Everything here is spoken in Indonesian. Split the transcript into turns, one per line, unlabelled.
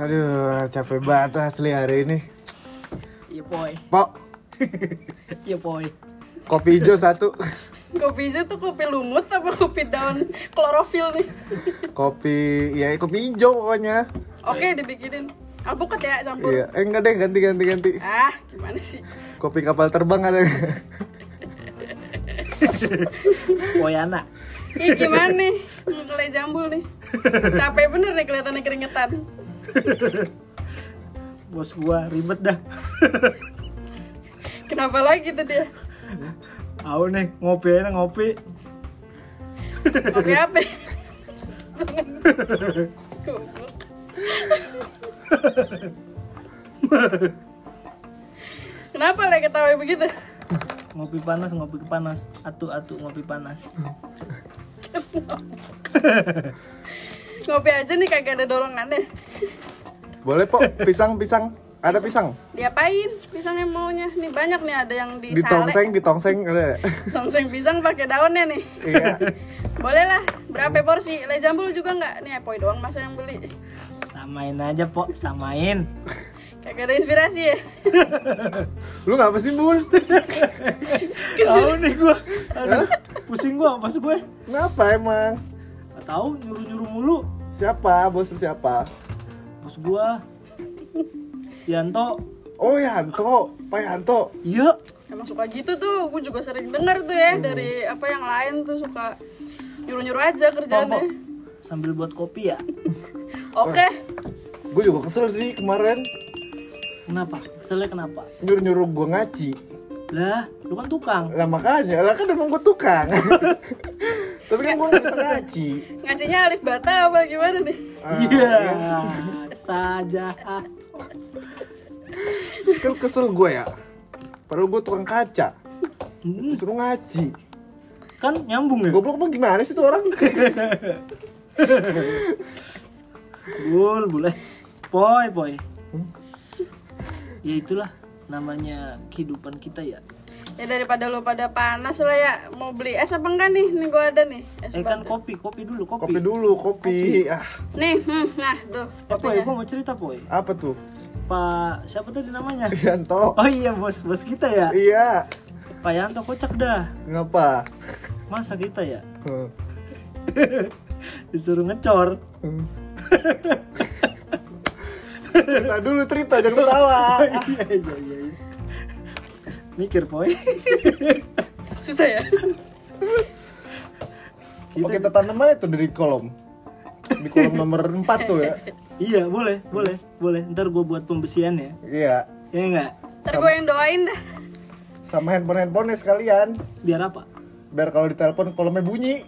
Aduh, capek banget asli hari ini.
Iya boy,
Pok,
iya boy.
kopi hijau satu,
Kopi hijau tuh kopi lumut apa kopi daun klorofil nih?
kopi ya kopi hijau pokoknya.
Oke, dibikinin alpukat ya campur.
Iya, eh, enggak deh ganti ganti ganti.
Ah, gimana sih?
Kopi kapal terbang ada. nggak?
Boyana.
Ih, gimana nih? Ngelai jambul nih. Capek bener nih kelihatannya keringetan.
Bos gua ribet dah.
Kenapa lagi tuh dia?
Aku nih ngopi aja ngopi.
Kopi apa? Jangan. Goblok. Kenapa lagi ketawa begitu?
Ngopi panas, ngopi panas. Atu atu ngopi panas.
Ngopi aja nih kagak ada dorongannya.
Boleh pok, pisang pisang. Ada pisang?
Diapain? Pisangnya maunya. Nih banyak nih ada yang di sale.
Ditongseng, ditongseng ada. ya?
Tongseng pisang pakai daunnya nih.
Iya.
Boleh lah. Berapa porsi? Le jambul juga nggak? Nih apoy doang masa yang beli.
Samain aja pok, samain.
Kagak ada inspirasi ya.
Lu ngapa sih bul?
Tahu nih gua. Aduh, pusing gua pas gue.
Kenapa emang?
Gak tahu nyuruh nyuruh mulu.
Siapa bos lu siapa?
Bos gua. Yanto.
Oh Yanto, Pak Yanto.
Iya.
Emang suka gitu tuh. Gue juga sering dengar tuh ya dari apa yang lain tuh suka nyuruh-nyuruh aja
Pok,
kerjaannya.
sambil buat kopi ya.
Oke.
Gue juga kesel sih kemarin
Kenapa? Keselnya kenapa?
nyuruh nyuruh gue ngaci.
Lah, lu kan tukang.
Lah makanya, lah kan emang gue tukang. Tapi kan gue nggak bisa ngaci.
Ngajinya Alif Bata apa gimana nih?
Ah,
Iya. Saja. Ah.
Kan kesel gue ya. Padahal gue tukang kaca.
Hmm,
Disuruh ngaci.
kan nyambung ya?
Goblok emang gimana sih tuh orang?
Bul, boleh. Poi, poi. Ya itulah namanya kehidupan kita ya.
Ya daripada lu pada panas lah ya. Mau beli es apa enggak nih? Nih gue ada nih. Es
Eh kan
batu.
kopi, kopi dulu, kopi.
Kopi dulu, kopi. Ah,
Nih, hmm, nah tuh.
Eh, poi,
kopinya.
gua mau cerita, poi.
apa tuh?
Pak, siapa tadi namanya?
Yanto.
Oh iya, bos, bos kita ya.
Iya.
Pak Yanto kocak dah.
Ngapa?
Masa kita ya
Hmm.
disuruh ngecor.
Hmm. cerita dulu cerita jangan ketawa.
Iya, iya, iya. iya. Mikir, poi.
Susah ya.
Oke, kita tanam aja tuh dari kolom. Di kolom nomor 4 tuh ya.
iya, boleh, boleh, boleh. Ntar gua buat pembesian ya.
Iya.
Ya enggak?
Ntar gue yang doain dah.
Sama handphone-handphone sekalian.
Biar apa?
Biar kalau ditelepon kolomnya bunyi.